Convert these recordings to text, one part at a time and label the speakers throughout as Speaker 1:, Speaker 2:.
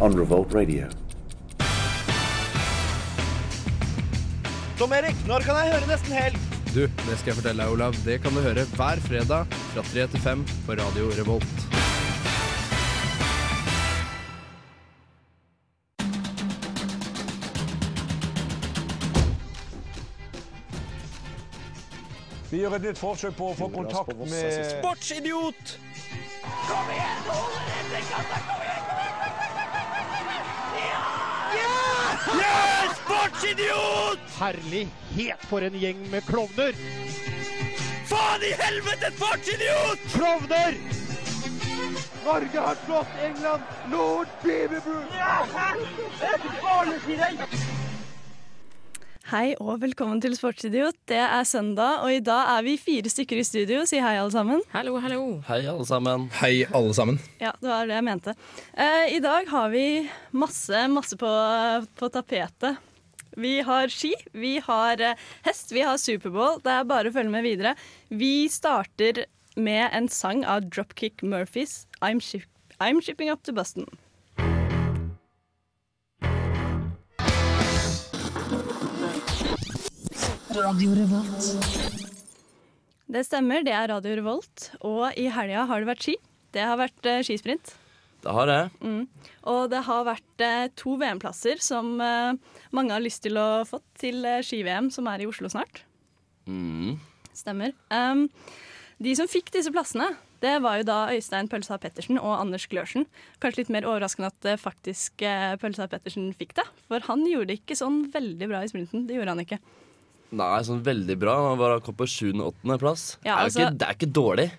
Speaker 1: on Revolt Radio.
Speaker 2: Tom Erik, når kan jeg høre Nesten Helg?
Speaker 3: Du, det skal jeg fortelle deg, Olav. Det kan du høre hver fredag fra 3 til 5 på Radio Revolt.
Speaker 4: Vi gjør et nytt forsøk på å få kontakt med
Speaker 2: Sportsidiot! Kom igjen,
Speaker 5: Herlighet for en gjeng med klovner!
Speaker 2: Faen i helvete, sportsidiot!
Speaker 5: Klovner!
Speaker 6: Hei og velkommen til Sportsidiot. Det er søndag, og i dag er vi fire stykker i studio. Si hei, alle sammen.
Speaker 7: Hallo, hallo.
Speaker 3: Hei, alle sammen. Hei, alle sammen.
Speaker 6: Ja, det var det jeg mente. Eh, I dag har vi masse, masse på, på tapetet. Vi har ski, vi har eh, hest, vi har Superbowl. Det er bare å følge med videre. Vi starter med en sang av Dropkick Murphys 'I'm, ship I'm Shipping Up to Boston'. Det stemmer, det er Radio Revolt. Og i helga har det vært ski. Det har vært eh, skisprint.
Speaker 2: Det har jeg.
Speaker 6: Og det har vært eh, to VM-plasser som eh, mange har lyst til å få til eh, ski-VM, som er i Oslo snart. Stemmer. Um, de som fikk disse plassene, det var jo da Øystein Pølsa Pettersen og Anders Glørsen. Kanskje litt mer overraskende at eh, faktisk eh, Pølsa Pettersen fikk det. For han gjorde det ikke sånn veldig bra i sprinten. Det gjorde han ikke.
Speaker 2: Nei, sånn veldig bra. Han bare kom på 7.-8. plass.
Speaker 6: Ja,
Speaker 2: det, er jo
Speaker 6: altså-
Speaker 2: ikke, det er ikke dårlig.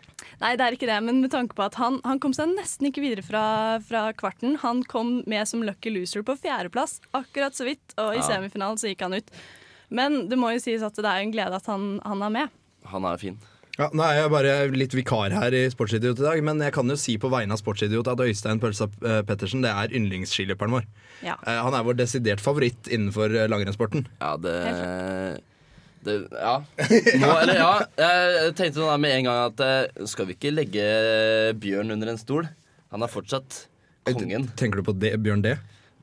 Speaker 6: Nei, det er ikke det, men med tanke på at han, han kom seg nesten ikke videre fra, fra kvarten. Han kom med som lucky loser på fjerdeplass, akkurat så vidt, og i
Speaker 2: Ja.
Speaker 6: semifinalen så gikk han ut. Men det må jo sies at det er jo en glede at han, han er med.
Speaker 2: Han er fin.
Speaker 3: Ja, nå er jeg bare litt vikar her i Sportsidiot i dag, men jeg kan jo si på vegne av Sportsidiot at Øystein Pølsa eh, Pettersen det er yndlingsskiløperen vår.
Speaker 6: Ja.
Speaker 3: Eh, Han er vår desidert favoritt innenfor eh, langrennssporten.
Speaker 2: Ja, det, det Ja. Nå, eller ja. Jeg tenkte sånn der med en gang at eh, skal vi ikke legge eh, Bjørn under en stol? Han er fortsatt kongen.
Speaker 3: Eh, Tenker du på det, Bjørn D?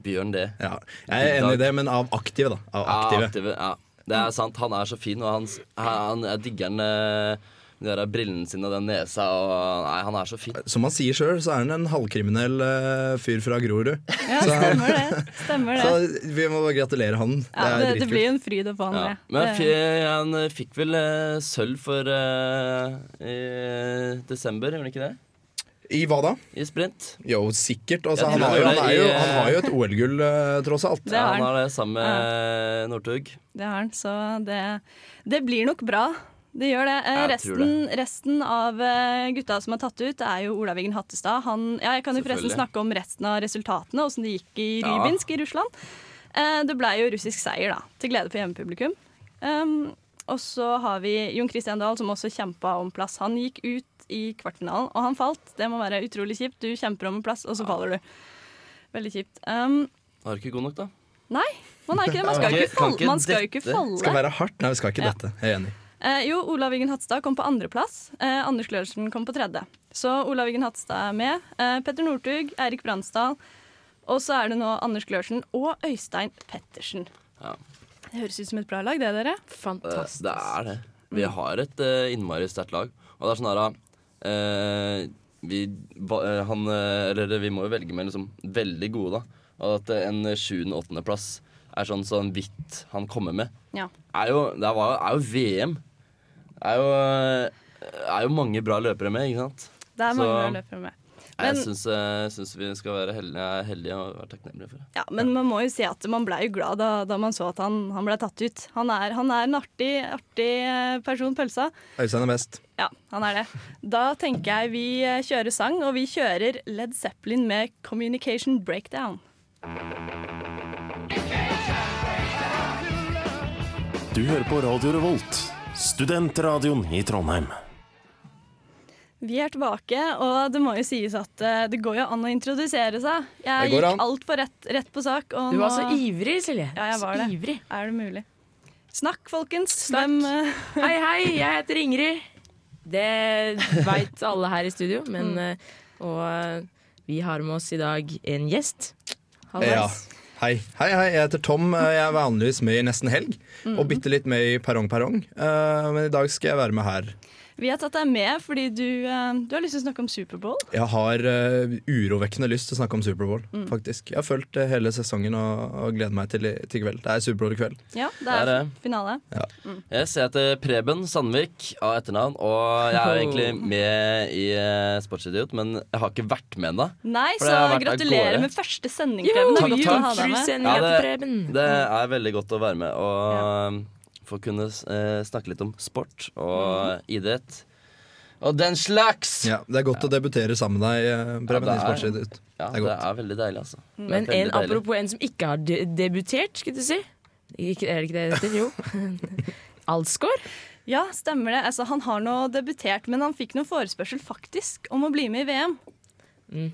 Speaker 2: Bjørn det.
Speaker 3: Ja. Jeg er enig i det, men av aktive, da. Av
Speaker 2: Ja,
Speaker 3: aktive.
Speaker 2: Ah, aktive. Ja. Det er sant. Han er så fin, og han, han jeg digger han eh, med de der brillene sine og den nesa og Nei, han er så fin.
Speaker 3: Som han sier sjøl, så er han en halvkriminell eh, fyr fra Grorud.
Speaker 6: Ja, stemmer det. Stemmer
Speaker 3: Så
Speaker 6: det.
Speaker 3: vi må bare gratulere han.
Speaker 6: Ja,
Speaker 3: det er
Speaker 6: det, det
Speaker 3: dritkult.
Speaker 6: blir jo en fryd å få han
Speaker 2: Ja.
Speaker 6: med.
Speaker 2: Men
Speaker 6: Det-
Speaker 2: fi, han eh, fikk vel eh, sølv for eh, i desember, gjorde han ikke det?
Speaker 3: I hva da?
Speaker 2: I sprint.
Speaker 3: Jo, sikkert. Altså,
Speaker 2: Jeg
Speaker 3: han,
Speaker 2: tror
Speaker 3: har jo,
Speaker 2: det
Speaker 3: han, er jo,
Speaker 2: i, eh,
Speaker 3: han har jo et OL-gull, eh, tross alt.
Speaker 6: Det har
Speaker 2: ja,
Speaker 6: han.
Speaker 2: han har det sammen med Northug.
Speaker 6: Det har han, så det, det blir nok bra. Det gjør det. Eh,
Speaker 2: Jeg tror
Speaker 6: resten, resten av eh, gutta som er tatt ut, er jo Olaviggen Hattestad. Han, ja, jeg kan jo forresten
Speaker 2: Selvfølgelig.
Speaker 6: snakke om resten av resultatene, åssen det gikk i
Speaker 2: Ja.
Speaker 6: Rybinsk i Russland. Eh, det blei jo russisk seier, da, til glede for hjemmepublikum. Um, og så har vi Jon Christian Dahl, som også kjempa om plass. Han gikk ut i kvartfinalen, og han falt. Det må være utrolig kjipt. Du kjemper om en plass, og så faller du. Veldig kjipt. Um,
Speaker 2: Var det ikke god nok, da?
Speaker 6: nei, man er ikke det. Man skal
Speaker 2: Kan
Speaker 6: jo
Speaker 2: ikke-
Speaker 6: ikke
Speaker 2: kan ikke
Speaker 6: falle. Man skal jo ikke
Speaker 2: dette-
Speaker 6: falle.
Speaker 3: Skal være hardt. Nei, vi skal ikke dette. Jeg er enig.
Speaker 6: Eh, jo, Olav Wiggen Hatstad kom på andreplass. Eh, Anders Glørsen kom på tredje. Så Olav Wiggen Hatstad er med. Eh, Petter Northug, Eirik Bransdal. Og så er det nå Anders Glørsen og Øystein Pettersen.
Speaker 2: Ja.
Speaker 6: Det høres ut som et bra lag, det, dere.
Speaker 2: Eh,
Speaker 7: Fantastisk.
Speaker 2: Det er det. Vi
Speaker 6: Mm.
Speaker 2: har et eh, innmari sterkt lag. Og det er sånn her eh, vi, ba, eh, han, eh, eller, vi må jo velge med liksom, veldig gode, da. Og at eh, en sjuende-åttendeplass er sånn sånn hvitt han kommer med,
Speaker 6: Ja.
Speaker 2: er jo, det var, jo- er jo VM. Det er jo, eh, er jo mange bra løpere med, ikke sant?
Speaker 6: Det er mange
Speaker 2: Så-
Speaker 6: bra løpere med.
Speaker 2: Jeg
Speaker 6: Men-
Speaker 2: syns, eh, syns vi skal være heldige, jeg er heldige og være takknemlige for det.
Speaker 6: Ja, men man må jo si at man blei jo glad da, da man så at han, han blei tatt ut. Han er, han er en artig, artig eh, person, pølsa.
Speaker 3: Øystein er best.
Speaker 6: Ja, han er det. Da tenker jeg vi eh, kjører sang, og vi kjører Led Zeppelin med 'Communication Breakdown'.
Speaker 8: Du hører på Radio Revolt, studentradioen i Trondheim.
Speaker 6: Vi er tilbake, og det må jo sies at eh, det går jo an å introdusere seg. Jeg
Speaker 3: Det går
Speaker 6: gikk
Speaker 3: an.
Speaker 6: altfor rett, rett på sak. Og
Speaker 7: Du var
Speaker 6: nå
Speaker 7: så ivrig, Silje.
Speaker 6: Ja, jeg var
Speaker 7: så
Speaker 6: det.
Speaker 7: ivrig.
Speaker 6: Er det mulig? Snakk, folkens.
Speaker 7: Snakk.
Speaker 6: Hvem, eh,
Speaker 7: Hei, hei, jeg heter Ingrid. Det veit Mm. alle her i studio, men eh, Og eh, vi har med oss i dag en gjest. Halvveis.
Speaker 3: Hei. Hei, hei, jeg heter Tom. Eh, Jeg er vanligvis med i Nesten Helg. Og bitte litt med i Perrong Perrong. Eh, Men i dag skal jeg være med her.
Speaker 6: Vi har tatt deg med fordi du, eh, du har lyst til å snakke om Superbowl.
Speaker 3: Jeg har eh, urovekkende lyst til å snakke om Superbowl, faktisk. Jeg har fulgt eh, hele sesongen og, og gleder meg til, i- til kveld. Det er Superbowl i kveld.
Speaker 6: Ja, det
Speaker 2: Det
Speaker 6: er
Speaker 2: er det.
Speaker 6: finale.
Speaker 2: Yes, jeg heter Preben Sandvik av etternavn, og jeg er egentlig med i eh, Sportsidiot, men jeg har ikke vært med ennå.
Speaker 6: Nei,
Speaker 2: For
Speaker 6: så
Speaker 2: det har vært av
Speaker 6: gratulerer
Speaker 2: gårde.
Speaker 6: med første sending,
Speaker 7: Jo,
Speaker 6: Preben. Det er
Speaker 2: Takk,
Speaker 6: godt å
Speaker 2: takk.
Speaker 6: ha deg med.
Speaker 7: Julesendinga
Speaker 2: Ja,
Speaker 7: til
Speaker 2: det-
Speaker 7: Preben.
Speaker 2: Det er veldig godt å være med og eh, få kunne eh, snakke litt om sport
Speaker 6: Mhm.
Speaker 2: og idrett og den slags.
Speaker 3: Ja, det er godt å debutere sammen med deg, eh, Preben.
Speaker 2: Ja,
Speaker 3: i
Speaker 2: det er-
Speaker 3: Sportsnytt.
Speaker 2: Ja,
Speaker 3: det er godt.
Speaker 2: veldig deilig, altså. Det er
Speaker 7: Men
Speaker 2: veldig
Speaker 7: en,
Speaker 2: deilig.
Speaker 7: apropos en som ikke har de debutert, skulle du si. Ikke, er det ikke det det heter? Jo. Alsgaard.
Speaker 6: Ja, stemmer det. Altså, han har nå debutert, men han fikk noen forespørsel faktisk om å bli med i VM.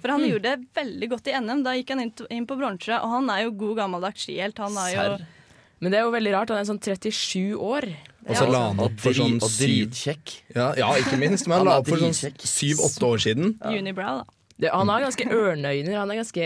Speaker 6: For han gjorde det veldig godt i NM. Da gikk han inn, t- inn på bronse, og han er jo god gammeldags skihelt. Han er jo
Speaker 2: Serr.
Speaker 7: Men det er jo veldig rart. Han er sånn 37 år.
Speaker 3: Og så la han
Speaker 2: Og
Speaker 3: opp for sånn
Speaker 2: dri- og
Speaker 3: syv
Speaker 2: dritkjekk.
Speaker 3: ja, ja, ikke minst. Men han
Speaker 2: Han
Speaker 3: la
Speaker 2: er
Speaker 3: opp for sånn
Speaker 2: dritkjekk.
Speaker 3: syv-åtte år siden.
Speaker 6: unibrow, da.
Speaker 7: Det, han har ganske ørneøyne. Han er ganske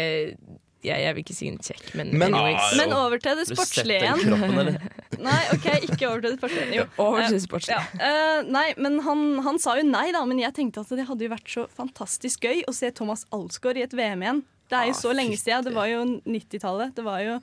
Speaker 7: jeg, jeg vil ikke si en kjekk, men,
Speaker 3: Men-
Speaker 7: anyways.
Speaker 6: Men over til det
Speaker 2: Har du sett
Speaker 6: sportslige
Speaker 2: den
Speaker 6: igjen.
Speaker 2: kroppen, eller?
Speaker 6: Nei, OK, ikke over til det sportslige. Jo.
Speaker 7: Over til
Speaker 6: Eh,
Speaker 7: sportslig.
Speaker 6: Ja. Eh, nei, men han, han sa jo nei, da. Men jeg tenkte at det hadde jo vært så fantastisk gøy å se Thomas Alsgaard i et VM igjen. Det er jo så lenge siden. Det var jo 90-tallet. Det var jo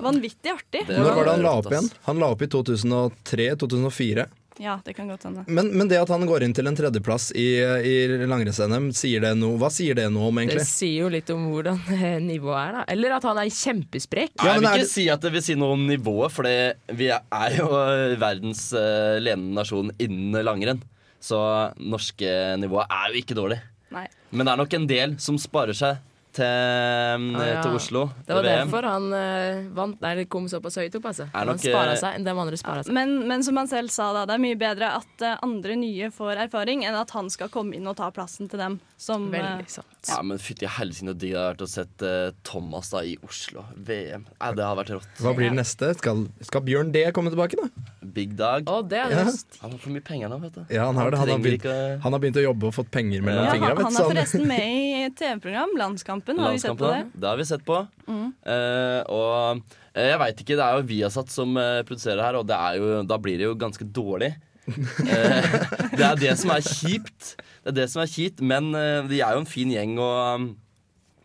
Speaker 6: vanvittig artig.
Speaker 2: Det
Speaker 3: Når var det han la
Speaker 2: rått,
Speaker 3: opp igjen?
Speaker 2: ass.
Speaker 3: Han la opp i 2003-2004.
Speaker 6: Ja, det kan godt hende.
Speaker 3: Men, men det at han går inn til en tredjeplass i, i langrenns-NM, sier det noe- hva sier det noe om,
Speaker 7: Det
Speaker 3: egentlig?
Speaker 7: sier jo litt om hvordan eh, nivået er, da. Eller at han er kjempesprek.
Speaker 3: Ja,
Speaker 2: Nei, jeg
Speaker 3: men
Speaker 2: vil
Speaker 3: er
Speaker 2: ikke
Speaker 3: det-
Speaker 2: si at det vil si noe om nivået, for det- vi er jo eh, verdens eh, ledende nasjon innen langrenn. Så norske nivået er jo ikke dårlig.
Speaker 6: Nei.
Speaker 2: Men det er nok en del som sparer seg til, eh,
Speaker 7: ja.
Speaker 2: til Oslo.
Speaker 7: Det var
Speaker 2: til VM.
Speaker 7: derfor han eh, vant, nei, kom såpass høyt opp. Altså.
Speaker 2: Er
Speaker 7: Han
Speaker 2: nok,
Speaker 7: spara
Speaker 2: eh,
Speaker 7: seg. De andre spara seg.
Speaker 6: Men, men som han selv sa, da, det er mye bedre at eh, andre nye får erfaring, enn at han skal komme inn og ta plassen til dem. Som, eh,
Speaker 7: Veldig liksom. sant.
Speaker 2: Ja, men fytti helsike så digg det hadde vært å sett eh, Thomas da i Oslo. VM. Nei, det har vært rått.
Speaker 3: Hva blir det neste? Skal, skal Bjørn D komme tilbake, da?
Speaker 2: Big dag.
Speaker 7: Og det er
Speaker 3: Ja.
Speaker 2: Han har for mye penger nå, vet du.
Speaker 3: Ja, han har det. Han har
Speaker 2: trenger
Speaker 3: begynt,
Speaker 2: ikke å-
Speaker 3: han har begynt å jobbe og fått penger mellom
Speaker 6: ja,
Speaker 3: fingra.
Speaker 6: han, han er forresten med i et TV-program, Landskampen. Har vi sett på
Speaker 2: sånn.
Speaker 6: det? Mm.
Speaker 2: Landskampen, det har vi sett på. Eh, og eh, jeg veit ikke, det er jo Viasat som eh, produserer her, og det er jo, da blir det jo ganske dårlig. Eh, det er det som er kjipt. Det er det som er kjipt, men eh, de er jo en fin gjeng, og um,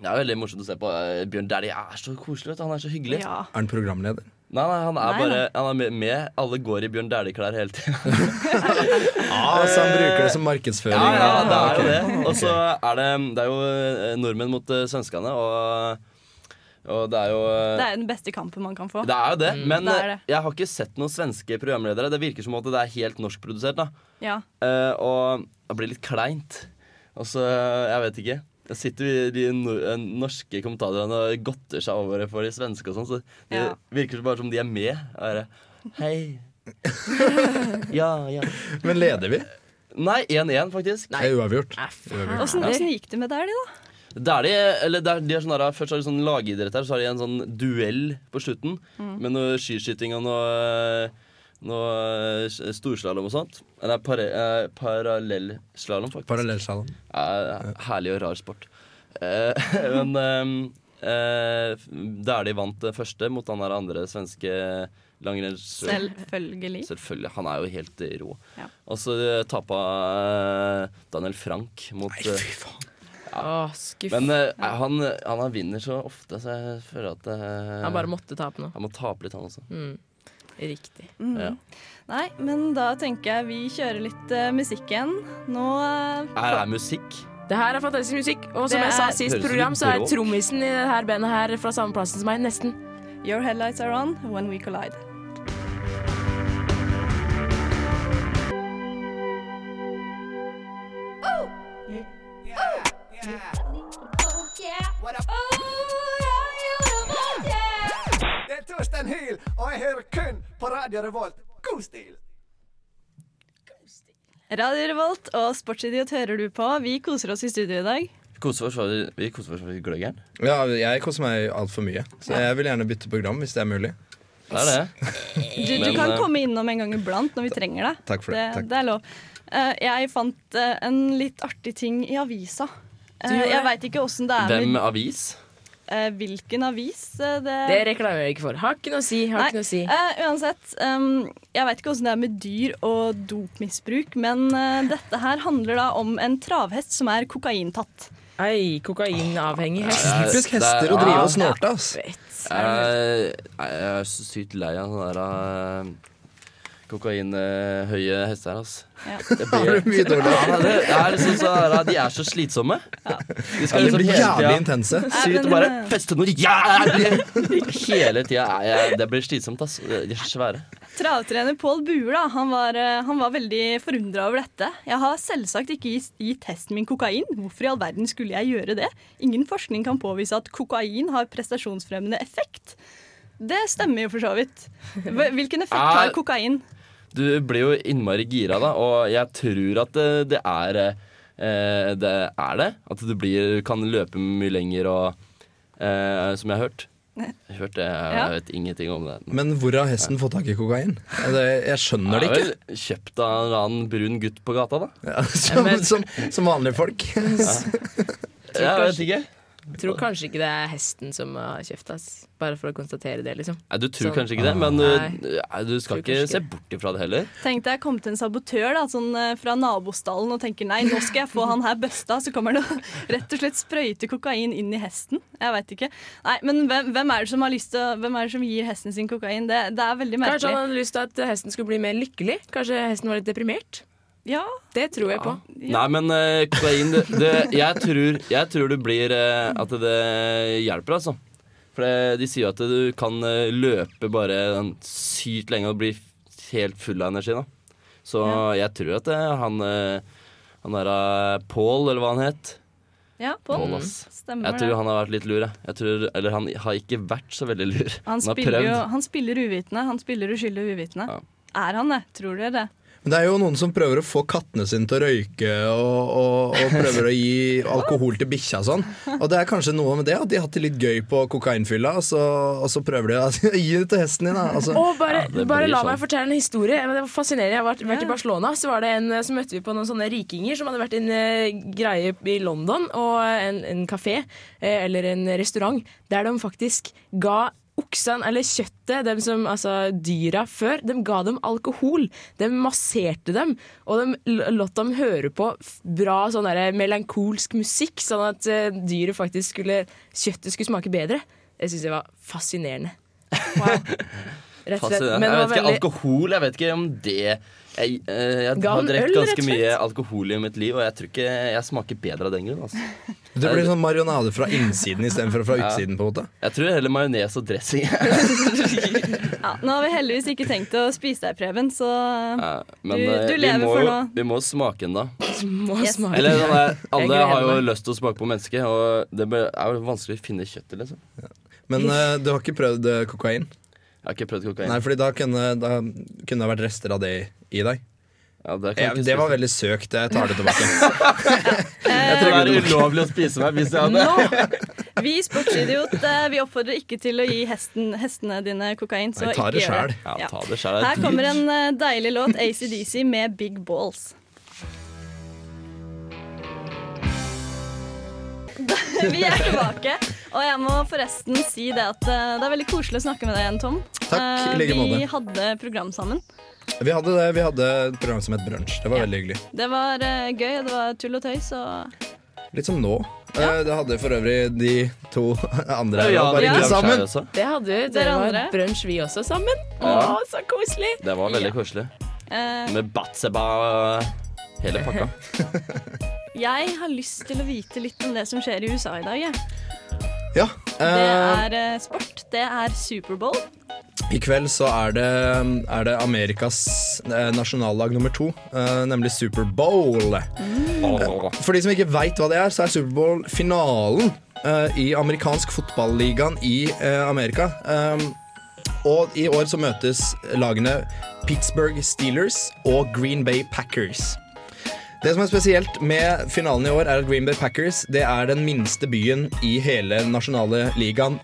Speaker 2: det er jo veldig morsomt å se på. Eh, Bjørn Dæhlie er så koselig, vet du. Han er så hyggelig.
Speaker 6: Ja.
Speaker 3: Er han programleder?
Speaker 2: Nei, nei, han er
Speaker 6: Nei,
Speaker 2: bare han er med, med. Alle går i Bjørn Dæhlie-klær hele tida.
Speaker 3: Ah, så han bruker det som markedsføring?
Speaker 2: Ja, ja, det
Speaker 3: Ah,
Speaker 2: er jo
Speaker 3: ok.
Speaker 2: det. Og så er det, det er jo eh, nordmenn mot eh, svenskene, og, og det er jo eh,
Speaker 6: Det er jo den beste kampen man kan få.
Speaker 2: Det er jo det, men eh,
Speaker 6: Det er det.
Speaker 2: jeg har ikke sett noen svenske programledere. Det virker som at det er helt norskprodusert, da.
Speaker 6: Ja.
Speaker 2: Eh, og det blir litt kleint. Og så, eh, jeg vet ikke. Da sitter de nor- eh, norske kommentatorene og godter seg over det for de svenske og sånn, så det
Speaker 6: Ja.
Speaker 2: virker bare som de er med. Og Bare, Hei. ja, ja.
Speaker 3: Men leder vi?
Speaker 2: Nei, 1-1, faktisk.
Speaker 3: Det er uavgjort.
Speaker 7: Nei, faen.
Speaker 6: Åssen åssen gikk det med deg, da?
Speaker 2: Det er de, eller det er, de er sånn der, Først har de sånn lagidrett her, så har de en sånn duell på slutten. Med noe skiskyting og noe, noe storslalåm og sånt. Eller pare, eh, parallellslalåm, faktisk.
Speaker 3: Parallellslalåm.
Speaker 2: Eh, herlig og rar sport. Eh, men eh, eh, da er de vant det første mot han der andre svenske langrenns...
Speaker 6: Selvfølgelig.
Speaker 2: Selvfølgelig. Han er jo helt eh, rå.
Speaker 6: Ja.
Speaker 2: Og så eh, tapa eh, Daniel Frank mot eh,
Speaker 7: Å, skuff.
Speaker 2: men eh, han, han er vinner så ofte, så jeg føler at eh,
Speaker 7: Han bare måtte tape nå.
Speaker 2: han må tape litt, han også.
Speaker 7: Riktig.
Speaker 2: Ja.
Speaker 6: Nei, men da tenker jeg vi kjører litt eh, musikk igjen. Nå eh,
Speaker 2: Er det musikk?
Speaker 7: Det her er fantastisk musikk, og som
Speaker 6: Det
Speaker 7: jeg sa
Speaker 6: er-
Speaker 7: i sist
Speaker 2: Høres ut som
Speaker 7: program, så er
Speaker 2: bråk.
Speaker 7: trommisen i det her bandet her fra samme plassen som meg, nesten.
Speaker 6: Your headlights are on when we collide.
Speaker 1: Det er Torstein Hyl, og jeg hører kun på Radio Revolt. God stil!
Speaker 6: Radio Revolt og Sportsidiot hører du på. Vi koser oss i studio i dag.
Speaker 2: Vi koser oss for- vi koser oss for gløggeren.
Speaker 3: Ja, jeg koser meg altfor mye, så jeg vil gjerne bytte program hvis det er mulig.
Speaker 2: Det er det.
Speaker 6: Du, du
Speaker 2: Men,
Speaker 6: kan
Speaker 2: eh,
Speaker 6: komme innom en gang iblant når vi trenger deg.
Speaker 3: Takk for det, takk.
Speaker 6: Det er lov. Eh, jeg fant eh, en litt artig ting i avisa. Eh,
Speaker 7: gjorde
Speaker 6: jeg
Speaker 7: det?
Speaker 6: veit ikke åssen det er
Speaker 2: Hvem
Speaker 6: med
Speaker 2: avis?
Speaker 6: eh, hvilken avis eh, det
Speaker 7: Det reklamerer jeg ikke for. Har ikke noe å si. Har
Speaker 6: Nei,
Speaker 7: ikke noe å si.
Speaker 6: eh, uansett, em, jeg vet ikke hvordan det er med dyr og dopmisbruk, men eh, dette her handler da om en travhest som er kokaintatt.
Speaker 7: Ei, kokainavhengig hest.
Speaker 3: Typisk hester å drive og snorte, ass.
Speaker 7: Fett.
Speaker 2: Jeg, jeg er så sykt lei av sånne der eh, kokainhøye hester her, ass.
Speaker 6: Ja.
Speaker 2: Det blir-
Speaker 3: Mye dårlig.
Speaker 2: Ja, det er liksom så der, de er så slitsomme. De
Speaker 3: Ja,
Speaker 2: skal
Speaker 3: de
Speaker 2: liksom
Speaker 3: blir jævlig
Speaker 2: hele tida
Speaker 3: intense.
Speaker 2: sy ut og bare
Speaker 6: Men, eh,
Speaker 2: feste noe jævlig! Hele tida. er jeg- Det blir slitsomt, ass. De er så svære.
Speaker 6: Travtrener Pål Buer da, han var, eh, han var veldig forundra over dette. Jeg har selvsagt ikke gis- gitt hesten min kokain. Hvorfor i all verden skulle jeg gjøre det? Ingen forskning kan påvise at kokain har prestasjonsfremmende effekt. Det stemmer jo for så vidt. Hv- Hvilken effekt har
Speaker 2: Er-
Speaker 6: kokain?
Speaker 2: Du blir jo innmari gira da, og jeg tror at det, det er eh, Det er det. At du blir, kan løpe mye lenger og eh, Som jeg har hørt. Jeg har hørt det,
Speaker 6: Ja.
Speaker 2: jeg vet ingenting om det.
Speaker 3: Men hvor har hesten fått tak i kokain? Ja, det- Jeg skjønner det
Speaker 2: er
Speaker 3: ikke.
Speaker 2: vel kjøpt av en eller annen brun gutt på gata, da.
Speaker 3: Ja, som, som, som vanlige folk.
Speaker 2: Jeg vet ikke.
Speaker 7: Tror kanskje ikke det er hesten som har kjeft, ass. Bare for å konstatere det, liksom.
Speaker 2: Nei, du tror
Speaker 7: Sånn.
Speaker 2: kanskje ikke det, men
Speaker 7: Nei.
Speaker 2: du, nei, du
Speaker 7: Tror
Speaker 2: skal
Speaker 7: kanskje
Speaker 2: ikke
Speaker 7: ikke
Speaker 2: se
Speaker 7: det.
Speaker 2: bort ifra det heller.
Speaker 6: Tenk deg kom til en sabotør da, sånn, eh, fra nabostallen og tenker nei, nå skal jeg få han her bøsta, så kommer han og rett og slett sprøyter kokain inn i hesten. Jeg veit ikke. Nei, men hvem, hvem er det som har lyst til å, hvem er det som gir hesten sin kokain? Det, det er veldig
Speaker 7: Kanskje han
Speaker 6: merkelig.
Speaker 7: hadde lyst til at hesten skulle bli mer lykkelig? Kanskje hesten var litt deprimert?
Speaker 6: Ja,
Speaker 7: Det tror jeg på.
Speaker 2: Nei, men eh, kokain det, det, jeg, tror, jeg tror det blir eh, at det hjelper, altså. For det, de sier jo at du kan eh, løpe bare den sykt lenge og bli f- helt full av energi, da. Så jeg tror at eh, han eh, Han der uh, Pål, eller hva han het.
Speaker 6: ja på
Speaker 2: Pål,
Speaker 6: den.
Speaker 2: ass.
Speaker 6: Stemmer
Speaker 2: Jeg tror
Speaker 6: det.
Speaker 2: han har vært litt lur, jeg. jeg tror, eller han har ikke vært så veldig lur.
Speaker 6: Han
Speaker 2: har
Speaker 6: spiller, jo, han spiller uvitende. Han spiller uskyldig uvitende.
Speaker 2: Ja.
Speaker 6: Er han det? Tror dere det?
Speaker 3: Men det er jo noen som prøver å få kattene sine til å røyke og, og, og prøver å gi alkohol til bikkja og sånn. Og det er kanskje noe med det, at de har hatt det litt gøy på kokainfylla, og så, og så prøver de å gi det til hesten din. Da. Altså,
Speaker 7: Og bare,
Speaker 2: Ja, det
Speaker 7: bare
Speaker 2: blir
Speaker 7: la
Speaker 2: sånn.
Speaker 7: meg fortelle en historie. Men Det var fascinerende. Jeg har vært, vært
Speaker 6: Ja.
Speaker 7: i Barcelona, så, var det en, eh, så møtte vi på noen sånne rikinger som hadde vært i en eh, greie i London, og en, en kafé eh, eller en restaurant, der de faktisk ga Oksene, eller kjøttet, dem som, altså dyra før, de ga dem alkohol. De masserte dem, og de l- lot dem høre på f- bra sånn der melankolsk musikk, sånn at eh, dyret faktisk skulle, kjøttet skulle smake bedre. Det syns jeg var fascinerende. Rett og slett.
Speaker 2: Fascinerende.
Speaker 7: Men det
Speaker 2: jeg
Speaker 7: var
Speaker 2: vet ikke,
Speaker 7: veldig-
Speaker 2: Alkohol, jeg vet ikke om det Jeg, eh, jeg
Speaker 7: Ga
Speaker 2: har
Speaker 7: den øl,
Speaker 2: drukket
Speaker 7: rett
Speaker 2: ganske
Speaker 7: og
Speaker 2: mye
Speaker 7: slett?
Speaker 2: alkohol i mitt liv, og jeg tror ikke jeg smaker bedre av den grunn. Altså.
Speaker 3: det blir sånn marionade fra innsiden istedenfor fra utsiden, på en måte.
Speaker 2: Jeg tror heller majones og dressing.
Speaker 6: Ja, nå har vi heldigvis ikke tenkt å spise deg, Preben, så
Speaker 2: Ja, Men
Speaker 6: Du-
Speaker 2: eh,
Speaker 6: du
Speaker 2: vi,
Speaker 6: lever
Speaker 2: må
Speaker 6: for
Speaker 2: jo,
Speaker 6: nå.
Speaker 2: vi må smake den, da.
Speaker 7: Må
Speaker 6: Yes.
Speaker 7: smake.
Speaker 2: Eller den der, alle
Speaker 7: gleder
Speaker 2: har jo
Speaker 7: meg.
Speaker 2: lyst til å smake på mennesket, og det be- er jo vanskelig å finne kjøttet, liksom.
Speaker 3: Men eh, du har ikke prøvd eh, kokain?
Speaker 2: Jeg har ikke prøvd kokain.
Speaker 3: Nei, fordi da kunne, da kunne det vært rester av det i deg.
Speaker 2: Ja, det, kan jeg
Speaker 3: Ja,
Speaker 2: ikke
Speaker 3: det var
Speaker 2: spise.
Speaker 3: veldig søkt. Jeg tar det tilbake.
Speaker 2: Jeg tror det er ulovlig å spise meg hvis jeg hadde
Speaker 6: vi i Sportsidiot eh, vi oppfordrer ikke til å gi hesten, hestene dine kokain, så
Speaker 3: Nei, ta
Speaker 6: ikke
Speaker 3: det
Speaker 6: gjør
Speaker 3: selv.
Speaker 6: det.
Speaker 2: Ja,
Speaker 6: Ja.
Speaker 2: ta det selv.
Speaker 6: Her kommer en eh, deilig låt, ACDC med Big Balls. Vi er tilbake, og jeg må forresten si det at eh, det er veldig koselig å snakke med deg igjen, Tom.
Speaker 3: Takk, i
Speaker 6: Eh,
Speaker 3: like
Speaker 6: Vi
Speaker 3: måte.
Speaker 6: hadde program sammen.
Speaker 3: Vi hadde, det, vi hadde et program som het Brunsj. Det var veldig hyggelig.
Speaker 6: Det var eh, gøy, og det var tull og tøys. Og
Speaker 3: Litt som nå. Eh, Det hadde for øvrig de to andre her.
Speaker 2: Ja,
Speaker 3: bare
Speaker 2: det
Speaker 3: ikke
Speaker 2: er
Speaker 3: sammen.
Speaker 2: også.
Speaker 7: Det hadde vi. Det
Speaker 6: Dere
Speaker 7: var
Speaker 6: andre?
Speaker 7: brunsj vi også sammen. Å,
Speaker 2: Ja.
Speaker 7: så koselig!
Speaker 2: Det var veldig
Speaker 7: Ja.
Speaker 2: koselig.
Speaker 6: eh,
Speaker 2: Med Batseba og hele pakka.
Speaker 6: jeg har lyst til å vite litt om det som skjer i USA i dag. jeg.
Speaker 3: Ja.
Speaker 6: Det
Speaker 3: eh,
Speaker 6: er eh, sport. Det er Superbowl.
Speaker 3: I kveld så er det, er det Amerikas eh, nasjonallag nummer to, eh, nemlig Superbowl. For de som ikke veit hva det er, så er Superbowl finalen eh, i amerikansk fotballigaen i eh, Amerika. Um, og i år så møtes lagene Pittsburgh Steelers og Green Bay Packers. Det som er spesielt med finalen i år, er at Green Bay Packers det er den minste byen i hele nasjonale ligaen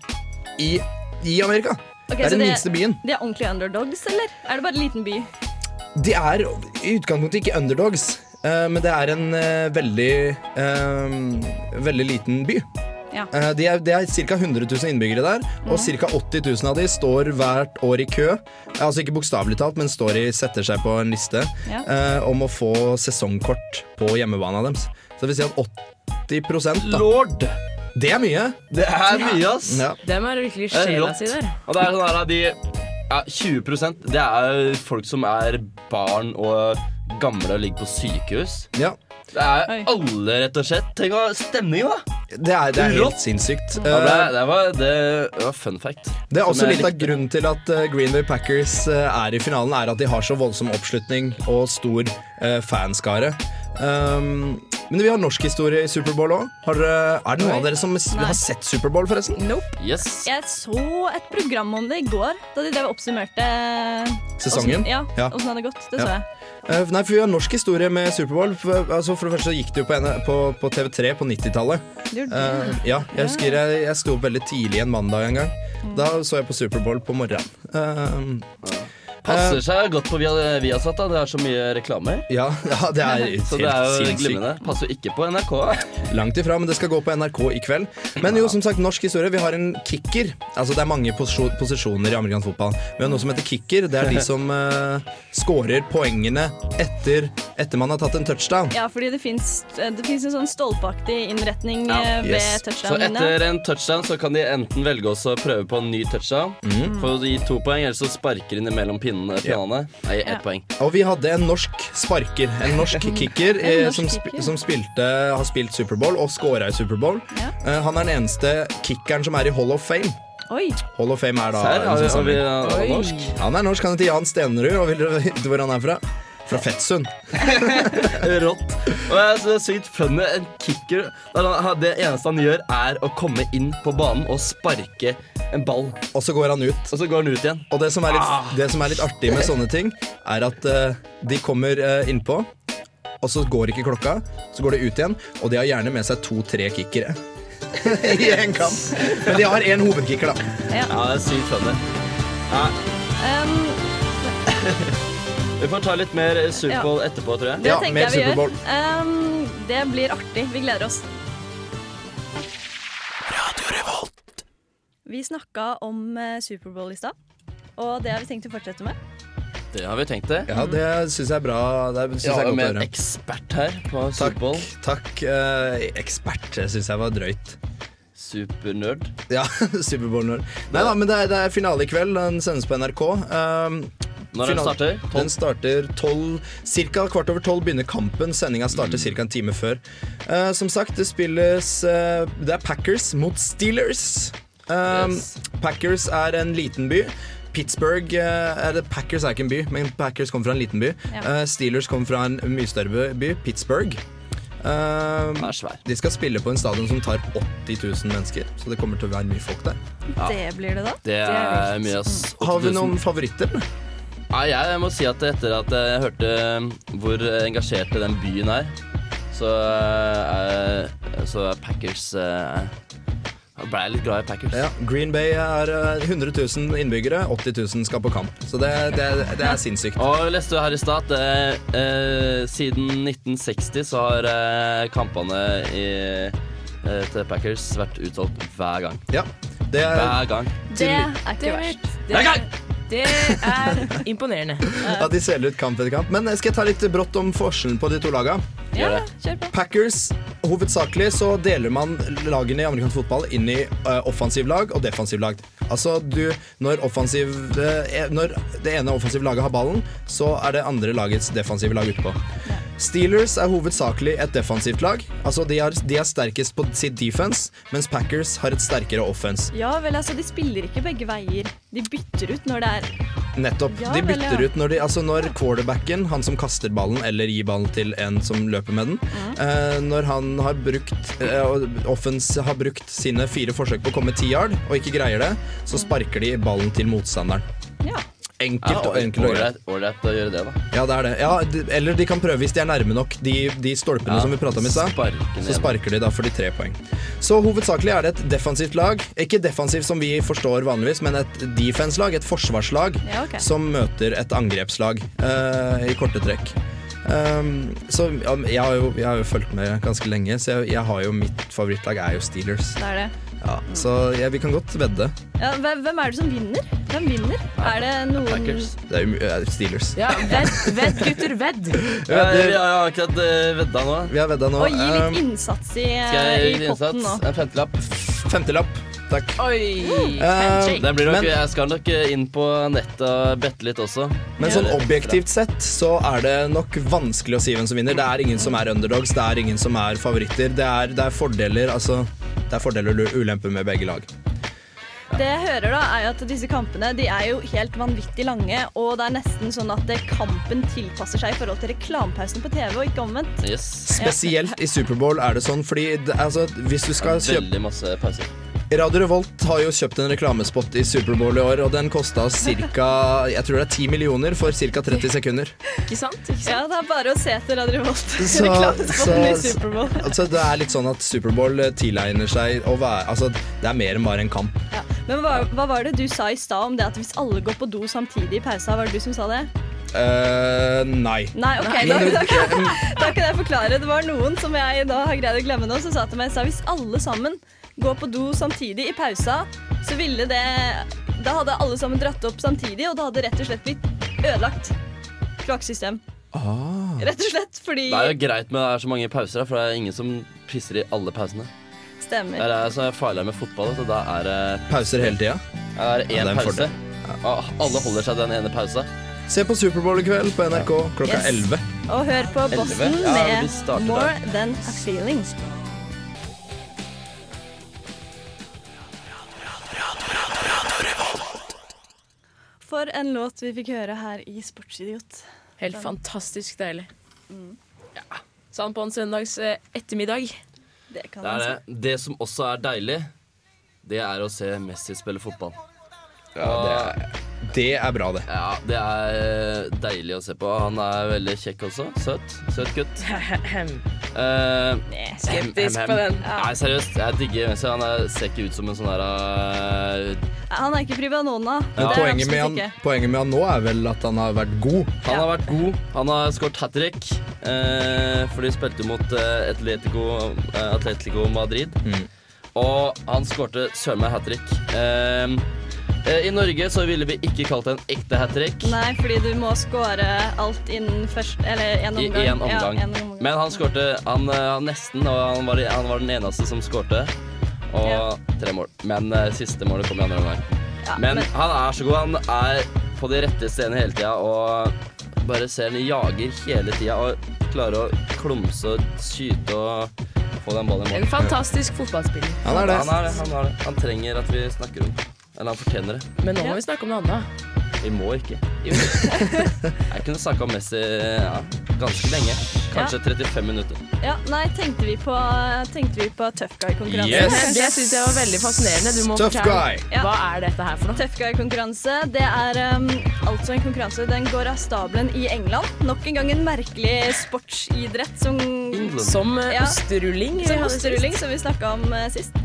Speaker 3: i, i Amerika.
Speaker 6: Ok,
Speaker 3: det
Speaker 6: så
Speaker 3: er den minste byen.
Speaker 6: De er ordentlige underdogs, eller? Er det bare en liten by?
Speaker 3: De er i utgangspunktet ikke underdogs, eh, men det er en eh, veldig eh, Veldig liten by.
Speaker 6: Ja.
Speaker 3: Eh, Det er, det er ca. 100 000 innbyggere der, og ca. 80 000 av de står hvert år i kø. Altså ikke bokstavelig talt, men står i, setter seg på en liste
Speaker 6: Ja.
Speaker 3: eh, om å få sesongkort på hjemmebana deres. Så det vil si at 80 da.
Speaker 2: Lord!
Speaker 3: Det er mye.
Speaker 2: Det er mye, ass.
Speaker 3: Ja.
Speaker 7: Dem er virkelig
Speaker 2: Det er
Speaker 7: sjela
Speaker 2: rått.
Speaker 7: si der.
Speaker 2: Og det er sånn her av de ja, 20 det er folk som er barn og gamle og ligger på sykehus.
Speaker 3: Ja.
Speaker 2: Det er
Speaker 6: Oi.
Speaker 2: alle, rett og slett. Tenk hva stemningen, da!
Speaker 3: Det er, det er
Speaker 2: Rått.
Speaker 3: helt sinnssykt.
Speaker 2: Ja, det,
Speaker 3: Eh,
Speaker 2: det, var, det var fun fact.
Speaker 3: Det er også
Speaker 2: Som jeg
Speaker 3: litt av
Speaker 2: likte.
Speaker 3: grunnen til at eh, Green Bay Packers eh, er i finalen, er at de har så voldsom oppslutning og stor eh, fanskare. Um, men vi har norsk historie i Superbowl òg. Er det noen av dere som s-
Speaker 6: Nei.
Speaker 3: har sett Superbowl, forresten?
Speaker 2: Yes.
Speaker 6: Jeg så et program om det i går, da de drev og oppsummerte
Speaker 3: Sesongen?
Speaker 6: Åssen, ja,
Speaker 3: Ja.
Speaker 6: åssen det hadde gått. Det
Speaker 3: Ja.
Speaker 6: så jeg.
Speaker 3: Eh, nei, for vi har norsk historie med Superbowl. For, altså, for det første så gikk det jo på, en, på, på TV3 på 90-tallet.
Speaker 6: Det gjorde du.
Speaker 3: Eh, ja, jeg husker jeg, jeg sto opp veldig tidlig en mandag en gang. Da så jeg på Superbowl på morgenen. Eh,
Speaker 2: Passer seg godt på Via- Viasat, da. Det er så mye reklame.
Speaker 3: ja, ja, det er helt
Speaker 2: Så det er jo
Speaker 3: sinnssykt.
Speaker 2: glimrende. Passer jo ikke på NRK.
Speaker 3: Langt ifra, men det skal gå på NRK i kveld. Men jo, som sagt, norsk historie. Vi har en kicker. Altså, det er mange posisjon- posisjoner i amerikansk fotball. Vi har noe som heter kicker. Det er de som uh, scorer poengene etter, etter man har tatt en touchdown.
Speaker 6: Ja, fordi det fins en sånn stolpeaktig innretning
Speaker 2: Ja.
Speaker 6: eh, ved
Speaker 3: Yes.
Speaker 2: Så
Speaker 6: touchdownen. ja.
Speaker 2: etter en touchdown så kan de enten velge oss å prøve på en ny touchdown.
Speaker 3: Mm.
Speaker 2: For å gi to poeng, eller så sparker de mellom pinnene. pinnene. Nei, ett
Speaker 6: Ja.
Speaker 2: poeng.
Speaker 3: Og vi hadde en norsk sparker. En norsk kicker
Speaker 6: En
Speaker 3: eh,
Speaker 6: norsk
Speaker 3: som, sp
Speaker 6: kicker.
Speaker 3: som spilte, har spilt Superbowl og scora i Superbowl.
Speaker 6: Ja.
Speaker 3: Eh, han er den eneste kickeren som er i Hall of Fame.
Speaker 6: Oi,
Speaker 3: Hall of Fame er da
Speaker 2: Serr,
Speaker 3: en
Speaker 2: har vi,
Speaker 3: sånn
Speaker 2: har vi
Speaker 3: samling.
Speaker 2: har vi norsk?
Speaker 3: Han er norsk. Han heter Jan Stenerud, og vil dere vite hvor han er fra? Fra Fettsund.
Speaker 2: Rått. Og jeg synes det er sykt funny. En kicker der han, Det eneste han gjør, er å komme inn på banen og sparke en ball.
Speaker 3: Og så går han ut.
Speaker 2: Og så går han ut igjen.
Speaker 3: Og det som er litt, det som er litt artig med sånne ting, er at eh, de kommer eh, innpå, og så går ikke klokka, så går det ut igjen, og de har gjerne med seg to-tre kickere. I en kamp. Men de har én hovedkicker, da.
Speaker 2: Ja, det er sykt funny.
Speaker 6: um,
Speaker 2: Vi får ta litt mer Super Bowl etterpå, tror jeg.
Speaker 6: det
Speaker 3: Ja,
Speaker 6: tenker
Speaker 3: mer
Speaker 6: jeg vi
Speaker 3: Super Bowl.
Speaker 6: gjør. Um, det blir artig. Vi gleder oss. Vi snakka om eh, Superbowl i stad, og det har vi tenkt å fortsette med.
Speaker 2: Det har vi tenkt det.
Speaker 3: Ja, det syns jeg er bra. Det synes
Speaker 2: Vi
Speaker 3: jeg
Speaker 2: har
Speaker 3: er godt
Speaker 2: jo
Speaker 3: å
Speaker 2: med en
Speaker 3: høre.
Speaker 2: ekspert her på
Speaker 3: Takk.
Speaker 2: Super Bowl.
Speaker 3: takk eh, ekspert, det syns jeg var drøyt.
Speaker 2: Supernerd.
Speaker 3: Ja, Superbowl-nord. Nei da, men det er, det er finale i kveld. Den sendes på NRK. Um,
Speaker 2: Når er den
Speaker 3: Final-
Speaker 2: starter?
Speaker 3: Den starter tolv Cirka kvart over tolv begynner kampen. Sendinga starter
Speaker 2: Mm.
Speaker 3: cirka en time før. Eh, som sagt, det spilles eh, Det er Packers mot Steelers. Um,
Speaker 2: Yes.
Speaker 3: Packers er en liten by. Pittsburgh eh, eller Packers er ikke en by, men Packers kommer fra en liten by.
Speaker 6: Ja.
Speaker 3: Eh, Steelers kommer fra en mye større by, Pittsburgh. Um,
Speaker 2: Den er svær.
Speaker 3: de skal spille på en stadion som tar 80 000 mennesker, så det kommer til å være mye folk der.
Speaker 6: Det blir det, da.
Speaker 2: Det
Speaker 7: er
Speaker 2: er mye, ass.
Speaker 3: Har vi
Speaker 2: 8000.
Speaker 3: noen favoritter?
Speaker 2: Nei, jeg må si at etter at jeg hørte eh, hvor engasjert den byen er, så, er- så er Packers eh, Jeg ble litt glad i Packers.
Speaker 3: Ja, Green Bay er eh, 100 000 innbyggere, 80 000 skal på kamp. Så det, det, det er sinnssykt.
Speaker 2: Og jeg leste her i stad at eh, eh, siden 1960 så har eh, kampene i, eh, til Packers vært utsolgt hver gang.
Speaker 3: Ja, det er,
Speaker 2: Hver gang.
Speaker 6: Det er ikke verst.
Speaker 7: Det, det er imponerende.
Speaker 3: ja, de selger ut kamp etter kamp. Men eh, skal jeg ta litt brått om forskjellen på de to laga?
Speaker 6: Ja, kjør på.
Speaker 3: Packers Hovedsakelig så deler man lagene i amerikansk fotball inn i uh, offensiv lag og defensiv lag. Altså du, når, offensiv, eh, når det ene offensive laget har ballen, så er det andre lagets defensive lag utpå. Steelers er hovedsakelig et defensivt lag. Altså de er, de er sterkest på sitt defense, mens Packers har et sterkere offense.
Speaker 6: Ja vel, altså, de spiller ikke begge veier. De bytter ut når det er
Speaker 3: Nettopp.
Speaker 6: Ja
Speaker 3: de
Speaker 6: vel,
Speaker 3: bytter
Speaker 6: ja.
Speaker 3: ut når, de, altså når quarterbacken, han som kaster ballen eller gir ballen til en som løper med den, eh, når han har brukt eh, og offens har brukt sine fire forsøk på å komme ti yard og ikke greier det, så sparker de ballen til motstanderen.
Speaker 6: Ja.
Speaker 3: Enkelt og
Speaker 2: Ja,
Speaker 3: enkelt og greit. Mm.
Speaker 2: ålreit- Ålreit å gjøre det, da.
Speaker 3: Ja, det er det. Ja, de, eller de kan prøve hvis de er nærme nok de, de stolpene
Speaker 2: Ja,
Speaker 3: som vi prata om i stad.
Speaker 2: sparke ned.
Speaker 3: Så sparker de da for de tre poeng. Så hovedsakelig er det et defensivt lag. Ikke defensivt som vi forstår vanligvis, men et defense-lag, et forsvarslag,
Speaker 6: Ja, ok.
Speaker 3: som møter et angrepslag eh, i korte trekk. Ehm, så ja, jeg, har jo, jeg har jo fulgt med ganske lenge, så jeg, jeg har jo mitt favorittlag er jo Steelers.
Speaker 6: Det er det.
Speaker 3: Ja, så jeg, vi kan godt vedde.
Speaker 6: Ja, hvem hvem er det som vinner? Hvem vinner? Er det noen
Speaker 2: Packers.
Speaker 3: Det er jo mu- eh, Steelers.
Speaker 7: Ja, vedd, vedd, gutter, vedd!
Speaker 3: Vi
Speaker 2: Ja, jeg, jeg
Speaker 3: vedder-
Speaker 2: har akkurat eh, vedda nå.
Speaker 3: Vi har vedda nå.
Speaker 6: Å gi
Speaker 3: Ehm,
Speaker 6: litt innsats i,
Speaker 2: Skal jeg
Speaker 6: Eh, i
Speaker 2: gi
Speaker 6: potten
Speaker 2: innsats?
Speaker 6: nå.
Speaker 2: En femtelapp.
Speaker 3: Femtelapp. Takk.
Speaker 7: Oi!
Speaker 3: Ehm,
Speaker 7: handshake.
Speaker 2: Det blir nok,
Speaker 3: Men-
Speaker 2: jeg skal nok eh, inn på nettet og bette litt også.
Speaker 3: Men sånn objektivt sett så er det nok vanskelig å si hvem som vinner. Det er ingen som er underdogs, det er ingen som er favoritter. Det er, det er fordeler, altså. Det er fordeler og ulemper med begge lag.
Speaker 6: Det jeg hører, da, er jo at disse kampene de er jo helt vanvittig lange. Og det er nesten sånn at eh, kampen tilpasser seg i forhold til reklamepausen på TV, og ikke omvendt.
Speaker 2: Yes.
Speaker 3: Spesielt i Superbowl er det sånn, fordi det, altså, hvis du skal kjøpe
Speaker 2: Veldig masse pauser.
Speaker 3: Radio Revolt har jo kjøpt en reklamespot i Superbowl i år, og den kosta oss ca. 10 millioner for ca. 30 sekunder.
Speaker 7: Ikke sant? Ikke sant?
Speaker 6: Ja, det er bare å se etter Radio Revolt.
Speaker 3: Så-
Speaker 6: Reklamespotten i
Speaker 3: så-
Speaker 6: Superbowl.
Speaker 3: Altså, det er litt sånn at Superbowl tilegner seg å være Altså, det er mer enn bare en kamp.
Speaker 6: Ja. Men hva, hva var det du sa i stad om det at hvis alle går på do samtidig i pausa, var det du som sa det?
Speaker 3: eh nei.
Speaker 6: Nei, ok, da,
Speaker 3: Men-
Speaker 6: da, kan, da kan jeg forklare. Det var noen som jeg da har greid å glemme nå, som sa til meg sa, hvis alle sammen går på do samtidig i pausa, så ville det Da hadde alle sammen dratt opp samtidig, og det hadde rett og slett blitt ødelagt kloakksystem. Rett og slett fordi
Speaker 2: Det er jo greit med det er så mange pauser, da, for det er ingen som pisser i alle pausene. Det
Speaker 6: Stemmer.
Speaker 2: er så farlig med fotball, så da er det
Speaker 3: Pauser hele tida.
Speaker 2: er det
Speaker 3: Ja, det er
Speaker 2: én
Speaker 3: en
Speaker 2: pause.
Speaker 3: fordel.
Speaker 2: Ah, Alle holder seg den ene pausa.
Speaker 3: Se på Superbowl i kveld på NRK klokka
Speaker 6: Yes.
Speaker 3: 11.
Speaker 6: Og hør på Bossen
Speaker 2: Elleve? Ja, vi starter
Speaker 6: med
Speaker 2: der.
Speaker 6: More Than A Feeling. For en låt vi fikk høre her i Sportsidiot.
Speaker 7: Helt fantastisk deilig. Mm. Sånn på en søndags eh, ettermiddag.
Speaker 6: Det kan
Speaker 2: Det
Speaker 6: man
Speaker 2: er
Speaker 6: si.
Speaker 2: det. Det som også er deilig, det er å se Messi spille fotball.
Speaker 3: Det er bra, det.
Speaker 2: Ja, det er eh, deilig å se på. Han er veldig kjekk også. Søt. Søt gutt. Eh,
Speaker 7: Skeptisk
Speaker 2: hem, hem,
Speaker 7: på
Speaker 2: hem.
Speaker 7: den.
Speaker 2: Nei, seriøst. Jeg digger Messi. Han er, ser ikke ut som en sånn der eh,
Speaker 6: Han er ikke privanona.
Speaker 3: Men
Speaker 6: Det er
Speaker 3: poenget, med
Speaker 6: absolutt
Speaker 3: han,
Speaker 6: ikke.
Speaker 3: poenget med han nå er vel at han har vært god.
Speaker 2: Han har vært god. Han har skåret hat trick. Eh, for de spilte jo mot eh, Atletico, eh, Atletico Madrid. Og han skårte søren meg hat trick. Eh, eh, I Norge så ville vi ikke kalt det en ekte hat trick.
Speaker 6: Nei, fordi du må score alt innen først Eller én
Speaker 2: I
Speaker 6: omgang.
Speaker 2: én omgang.
Speaker 6: Ja, en omgang.
Speaker 2: Men han skårte han, eh, han nesten, og han var, han var den eneste som skårte. Og
Speaker 6: Ja.
Speaker 2: tre mål. Men eh, siste målet kom i andre omgang.
Speaker 6: Ja,
Speaker 2: Men
Speaker 6: men-
Speaker 2: han er så god. Han er på de rette stedene hele tida og bare ser han jager hele tida og klarer å klumse og skyte og få den ballen i
Speaker 7: En
Speaker 2: mål.
Speaker 7: fantastisk fotballspiller.
Speaker 3: Han er det.
Speaker 2: Han er det, han er det. Han trenger at vi snakker om det. Eller han fortjener det.
Speaker 7: Men nå må vi snakke om noe annet.
Speaker 2: Vi må ikke. Jeg kunne snakka om Messi ja, ganske lenge. Kanskje 35 minutter.
Speaker 6: Ja, nei, tenkte vi på, tenkte vi på Tough Guy-konkurransen?
Speaker 3: Yes.
Speaker 7: Det syns jeg var veldig fascinerende. Du må
Speaker 3: Tough
Speaker 7: fortelle.
Speaker 3: guy.
Speaker 7: Hva er dette her for noe?
Speaker 6: Tough Guy-konkurranse. Det er um, altså en konkurranse Den går av stabelen i England. Nok en gang en merkelig sportsidrett som,
Speaker 2: England.
Speaker 7: Som eh,
Speaker 6: Ja.
Speaker 7: osterulling. vi
Speaker 6: som
Speaker 7: hadde
Speaker 6: osterulling,
Speaker 7: sist.
Speaker 6: som vi snakka om eh, sist.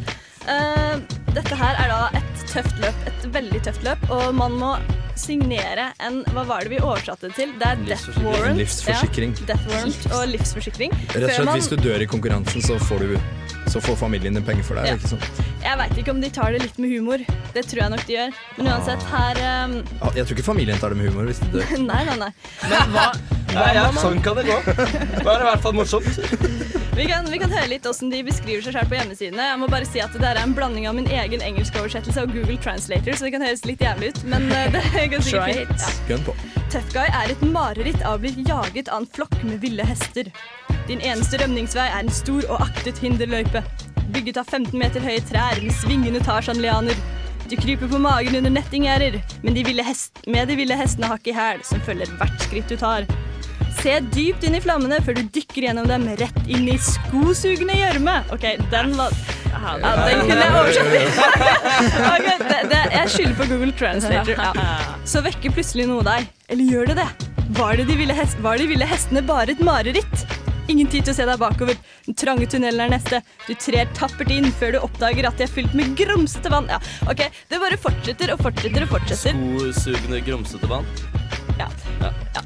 Speaker 6: Eh, dette her er da et tøft løp. Et veldig tøft løp. Og man må signere en Hva var det vi oversatte det til? Det er death
Speaker 2: Livsforsikring.
Speaker 6: warrant.
Speaker 3: Livsforsikring.
Speaker 6: Ja, death warrant og livsforsikring.
Speaker 3: Rett og
Speaker 6: Før
Speaker 3: slett,
Speaker 6: man-
Speaker 3: hvis du dør i konkurransen, så får, du, så får familien din penger for det. er det
Speaker 6: Ja.
Speaker 3: Ikke sant?
Speaker 6: Jeg veit ikke om de tar det litt med humor. Det tror jeg nok de gjør. Men uansett, her um,
Speaker 3: Ja, Ah, Jeg tror ikke familien tar det med humor hvis de dør.
Speaker 6: Nei, nei, nei.
Speaker 7: Men hva,
Speaker 2: Nei, ja, sånn kan det gå. Da er det i hvert fall morsomt.
Speaker 6: Vi kan, vi kan høre litt hvordan de beskriver seg selv på hjemmesidene. Jeg må bare si at Det her er en blanding av min egen engelskoversettelse og Google Translator, så det kan høres litt jævlig ut, men eh, det går
Speaker 7: Try
Speaker 6: sikkert
Speaker 7: it.
Speaker 6: fint.
Speaker 3: Gønn på.
Speaker 6: Tough Guy er et mareritt av å bli jaget av en flokk med ville hester. Din eneste rømningsvei er en stor og aktet hinderløype. Bygget av 15 meter høye trær med svingende tarsanlianer. Du kryper på magen under nettinggjerder, men de ville hest, med de ville hestene hakk i hæl, som følger hvert skritt du tar. Se dypt inn i flammene før du dykker gjennom dem rett inn i skosugende gjørme. OK, den var ja, den kunne jeg oversatt. Ok, det, det, jeg skylder på Google Translator. Ja. Så vekker plutselig noe deg. Eller gjør det det? Var det de ville, hest var de ville hestene bare et mareritt? Ingen tid til å se deg bakover. Den trange tunnelen er neste. Du trer tappert inn før du oppdager at de er fylt med grumsete vann. Ja, ok, Det bare fortsetter og fortsetter og fortsetter.
Speaker 2: Skosugende, grumsete vann.
Speaker 6: Ja.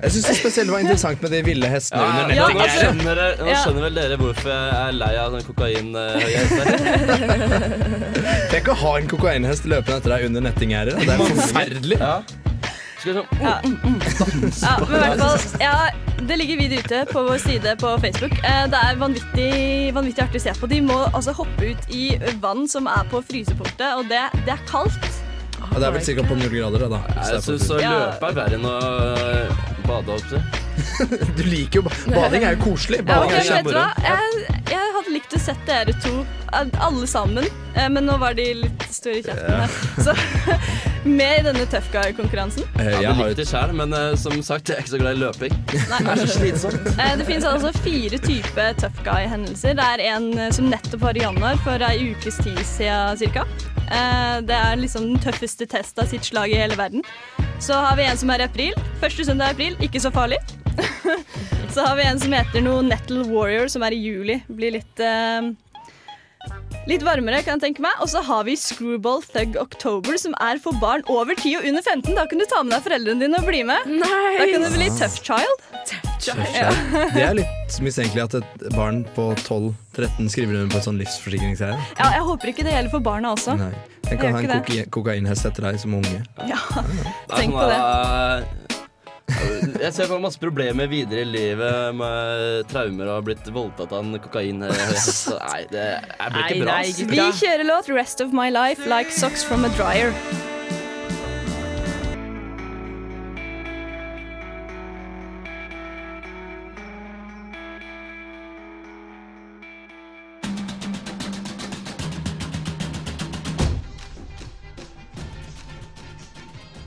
Speaker 3: Jeg syns det spesielt var interessant med de ville hestene under
Speaker 2: Ja,
Speaker 3: nettet.
Speaker 2: nå,
Speaker 6: altså-
Speaker 2: skjønner, dere- nå
Speaker 6: Ja.
Speaker 2: skjønner vel dere hvorfor jeg er lei av den kokain eh, høye hester.
Speaker 3: Tenk å ha en kokainhest løpende etter deg under nettinggjerdet. Det er forferdelig.
Speaker 2: Ja. Skal vi se.
Speaker 6: Ja, men i hvert fall, ja, det ligger vidt ute på vår side på Facebook. Eh, Det er vanvittig, vanvittig artig å se på. De må altså hoppe ut i vann som er på frysepunktet, og det, det er kaldt.
Speaker 3: Ja, det er vel ca. på null grader. da. hvis det
Speaker 2: Jeg
Speaker 3: er
Speaker 2: syns å
Speaker 6: Ja.
Speaker 2: løpe er verre enn å eh, bade, holdt jeg på å si.
Speaker 3: på- Du liker jo ba- Bading er jo koselig.
Speaker 6: Ja,
Speaker 3: Bading er
Speaker 6: ok, men vet du
Speaker 3: kjempemoro.
Speaker 6: hva? Jeg, jeg hadde likt å sett dere to, eh, alle sammen, eh, men nå var de litt store i kjeften. her. Så med i denne Tough Guy-konkurransen.
Speaker 3: Eh,
Speaker 2: Jeg
Speaker 3: Jeg
Speaker 2: hadde
Speaker 3: har
Speaker 2: likt det sjøl, men eh, som sagt, jeg er ikke så glad i løping.
Speaker 6: Eh, Det finnes altså fire typer tough guy-hendelser. Det er en eh, som nettopp var i januar, for ei ukes tid siden cirka. Eh, Det er liksom den tøffeste test av sitt slag i hele verden. Så har vi en som er i april. Første søndag i april, ikke så farlig. så har vi en som heter noe Nettle Warrior, som er i juli. Blir litt eh, Litt varmere, kan jeg tenke meg. Og så har vi Screwball Thug October, som er for barn over 10 og under 15. Da kan du ta med deg foreldrene dine og bli med. Da kan du
Speaker 7: Nei!
Speaker 6: bli tough child.
Speaker 3: Det er litt mistenkelig at et barn på 12-13 skriver under på en sånn livsforsikringsgreie.
Speaker 6: Ja, jeg håper ikke det gjelder for barna også.
Speaker 3: Nei. Tenk
Speaker 6: Det
Speaker 3: å
Speaker 6: gjør
Speaker 3: ha en
Speaker 6: ikke
Speaker 3: koki- kokainhest etter deg som unge.
Speaker 6: Ja,
Speaker 2: Det er
Speaker 6: tenk på
Speaker 2: sånn,
Speaker 6: det.
Speaker 2: eh, Jeg ser for meg masse problemer videre i livet med traumer og har blitt voldtatt av en kokainhest. Så Nei, det jeg blir
Speaker 7: Nei,
Speaker 2: ikke bra.
Speaker 7: nei,
Speaker 2: ass.
Speaker 7: gutta.
Speaker 6: Vi kjører låt 'Rest of My Life Like Socks From A Dryer'.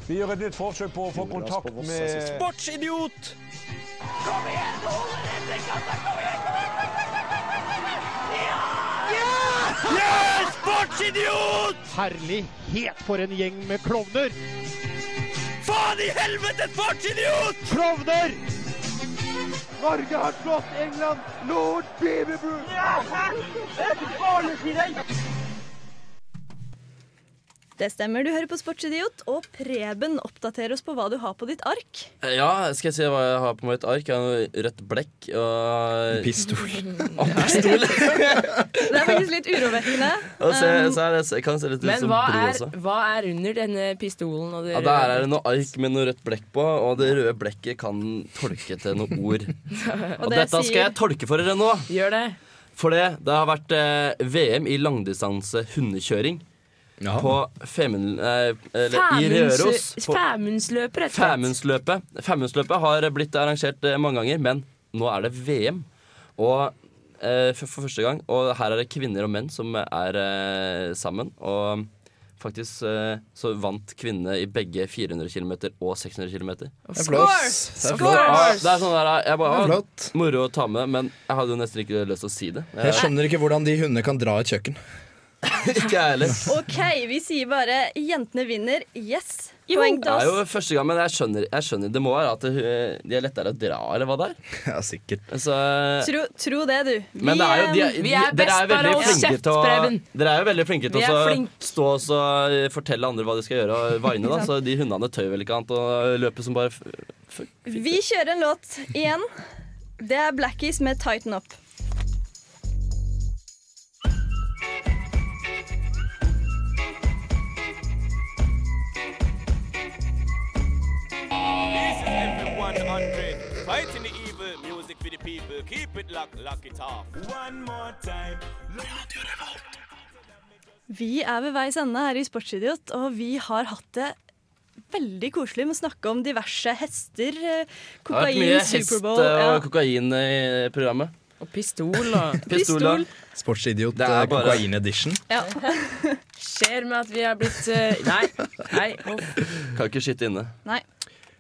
Speaker 4: Vi gjør et nytt forsøk på å få kontakt med
Speaker 5: Herlighet for en gjeng med klovner!
Speaker 9: Faen i helvete, fartsidiot!
Speaker 5: Klovner!
Speaker 4: Norge har slått England! Lord Beaverbrook!
Speaker 6: Det stemmer, du hører på Sportsidiot, og Preben oppdaterer oss på hva du har på ditt ark.
Speaker 2: Ja, skal jeg si hva jeg har på mitt ark? Jeg har noe rødt blekk og
Speaker 3: Pistol.
Speaker 6: Det er faktisk litt urovekkende. um,
Speaker 2: Og se, så er det, så kan det se litt ut
Speaker 7: Um, Men
Speaker 2: som
Speaker 7: hva
Speaker 2: blod
Speaker 7: er,
Speaker 2: også.
Speaker 7: hva er under denne pistolen? Og det
Speaker 2: Ja, Der er det noe ark med noe rødt blekk på, og det røde blekket kan tolke til noe ord. Og
Speaker 6: det
Speaker 2: dette skal
Speaker 6: sier-
Speaker 2: jeg tolke for dere nå.
Speaker 7: Gjør det.
Speaker 2: For det, det har vært eh, VM i langdistanse hundekjøring
Speaker 3: Ja.
Speaker 2: på Femund... Eh, eller i Røros.
Speaker 7: Fæmunds-
Speaker 2: på-
Speaker 7: Fæmundsløpet, rett og slett.
Speaker 2: Femundsløpet. Femundsløpet har blitt arrangert eh, mange ganger, men nå er det VM. Og eh, for, for første gang. Og her er det kvinner og menn som er eh, sammen. Og faktisk eh, så vant kvinnene i begge 400 km og 600 km.
Speaker 3: Det er flott. Det er flott.
Speaker 2: Det er sånn der, jeg
Speaker 3: Det
Speaker 2: bare,
Speaker 3: er
Speaker 2: ah,
Speaker 3: flott.
Speaker 2: Moro å ta med, men jeg hadde jo nesten ikke lyst til å si det.
Speaker 3: Jeg
Speaker 2: Jeg,
Speaker 3: skjønner ikke hvordan de hundene kan dra et kjøkken.
Speaker 2: ikke jeg heller.
Speaker 6: OK, vi sier bare 'jentene vinner'. Yes!
Speaker 7: Jo.
Speaker 6: Poeng til
Speaker 2: Det er jo
Speaker 6: oss.
Speaker 2: første gang, men jeg skjønner, jeg skjønner det må være at eh, de er lettere å dra, eller hva det er. Altså,
Speaker 3: Ja, sikkert.
Speaker 2: Så,
Speaker 6: Tro, tro det, du.
Speaker 2: Men det er jo, de,
Speaker 6: eh,
Speaker 2: de,
Speaker 7: vi er
Speaker 2: dere, er
Speaker 7: best bare å
Speaker 2: veldig
Speaker 7: holde
Speaker 2: flinke
Speaker 7: kjeft,
Speaker 2: til å,
Speaker 7: Preben.
Speaker 2: dere er jo veldig flinke til
Speaker 7: Vi
Speaker 2: å
Speaker 7: er
Speaker 2: så
Speaker 7: flink.
Speaker 2: stå og så eh, fortelle andre hva de skal gjøre og vaine. Da. Så de hundene tør vel ikke annet å løpe som bare f f
Speaker 6: um, Vi kjører en låt igjen. Det er Blackies med 'Tighten Up'.
Speaker 9: This is everyone 100. Fighting the evil, music for the people. Keep it locked, lock it off. One more time.
Speaker 6: Vi er ved veis ende her i Sportsidiot, og vi har hatt det veldig koselig med å snakke om diverse hester, eh,
Speaker 2: Det har vært
Speaker 6: kokain,
Speaker 2: mye hest
Speaker 6: Superbowl
Speaker 2: eh,
Speaker 6: ja.
Speaker 2: og kokain i programmet.
Speaker 7: Og pistol og
Speaker 2: Pistol. da.
Speaker 3: Sportsidiot
Speaker 2: Det er
Speaker 3: eh,
Speaker 2: bare-
Speaker 3: kokain-edition.
Speaker 7: Skjer med at vi er blitt eh, Nei. nei uff,
Speaker 2: Kan ikke skyte inne.
Speaker 6: Nei,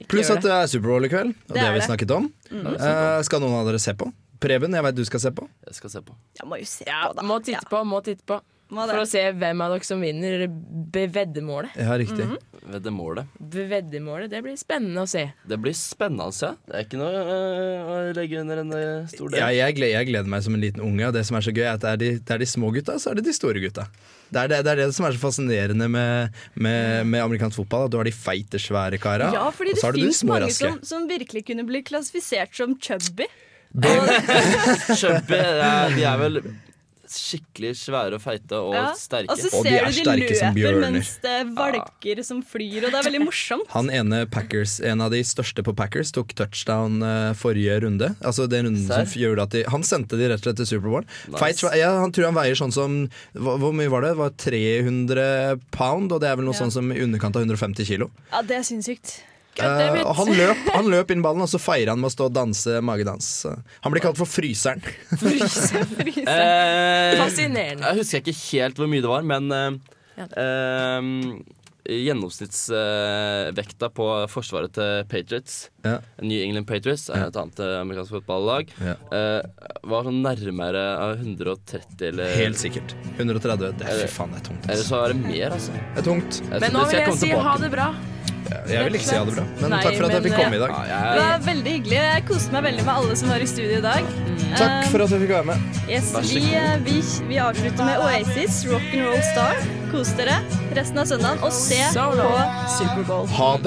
Speaker 7: ikke
Speaker 3: Pluss
Speaker 7: gjør
Speaker 3: at det er Superbowl i kveld, og det,
Speaker 6: er
Speaker 3: har vi
Speaker 6: det. Mm.
Speaker 3: snakket om. Eh, skal noen av dere se på? Preben, jeg vet du skal se på.
Speaker 2: Jeg skal se på.
Speaker 6: jeg må jo se
Speaker 7: Ja,
Speaker 6: på, da.
Speaker 7: må titte på, må titte på.
Speaker 6: Ja, Hva er
Speaker 7: For å
Speaker 6: det?
Speaker 7: se hvem av dere som vinner be- veddemålet.
Speaker 3: Ja, riktig.
Speaker 6: Mhm.
Speaker 2: Veddemålet.
Speaker 7: Be- Veddemålet, det blir spennende å se.
Speaker 2: Det blir spennende, ja. Det er ikke noe eh, å legge under en eh, stor del.
Speaker 3: Jeg, jeg, gleder, jeg gleder meg som en liten unge, og det som er så gøy, er at det er de, det er de små gutta, så er det de store gutta. Det er det, det, er det som er så fascinerende med, med, med amerikansk fotball. At du har de feite, svære kara,
Speaker 6: Ja,
Speaker 3: og
Speaker 6: fordi det
Speaker 3: så har du de
Speaker 6: fins
Speaker 3: små,
Speaker 6: mange
Speaker 3: raske.
Speaker 6: som, som virkelig kunne bli klassifisert som chubby.
Speaker 2: Chubby, eh, de er vel skikkelig svære og feite og
Speaker 6: Ja.
Speaker 2: sterke.
Speaker 6: Og så
Speaker 3: Og de
Speaker 6: ser
Speaker 3: er
Speaker 6: du de
Speaker 3: sterke som
Speaker 6: løper
Speaker 3: bjørner.
Speaker 6: mens det valker som flyr, og det er veldig morsomt.
Speaker 3: Han ene Packers, en av de største på Packers, tok touchdown eh, forrige runde. Altså den runden
Speaker 2: Serr?
Speaker 3: som gjorde at de, Han sendte de rett og slett til Superbowl.
Speaker 2: Nice.
Speaker 3: Fights var- Ja, han tror han veier sånn som hva, Hvor mye var det? Det var 300 pound, og det er vel noe
Speaker 6: Ja.
Speaker 3: sånn som i underkant av 150 kilo.
Speaker 6: Ja, det er sinnssykt.
Speaker 3: Eh, og han løp, han løp inn ballen, og så feirer han med å stå og danse magedans. Så Han blir kalt for Fryseren.
Speaker 6: Fryse, fryse.
Speaker 2: Eh,
Speaker 7: Fascinerende.
Speaker 2: Jeg husker ikke helt hvor mye det var, men eh,
Speaker 7: Ja.
Speaker 2: eh, gjennomsnittsvekta på forsvaret til Patriots,
Speaker 3: Ja.
Speaker 2: New England Patriots, er et annet eh, amerikansk fotballag,
Speaker 3: Ja.
Speaker 2: eh, var sånn nærmere av 130 eller
Speaker 3: Helt sikkert. 130. Det er, fy faen, det er tungt.
Speaker 2: Eller
Speaker 3: Altså.
Speaker 2: så er det mer, altså.
Speaker 3: Det er tungt.
Speaker 2: Jeg
Speaker 7: Men nå
Speaker 2: tror- det skal
Speaker 7: vil jeg
Speaker 2: komme
Speaker 7: si
Speaker 2: tilbake
Speaker 7: ha det bra.
Speaker 3: Jeg vil ikke si ha det bra, men
Speaker 7: Nei,
Speaker 3: takk for at jeg
Speaker 7: men,
Speaker 3: fikk komme i
Speaker 2: Ja,
Speaker 3: dag.
Speaker 6: Det
Speaker 2: jeg,
Speaker 6: var veldig hyggelig. Jeg koste meg veldig med alle som var i studio i dag. Um,
Speaker 3: Takk for at jeg fikk være med.
Speaker 6: Yes,
Speaker 2: Vær så
Speaker 6: vi, eh, vi, vi avslutter med Oasis, Rock'n'Roll Star. Kos dere resten av søndagen, og se
Speaker 7: So
Speaker 6: på
Speaker 7: long.
Speaker 6: Superbowl.
Speaker 3: Ha dem.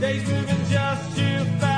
Speaker 9: Days moving just too fast.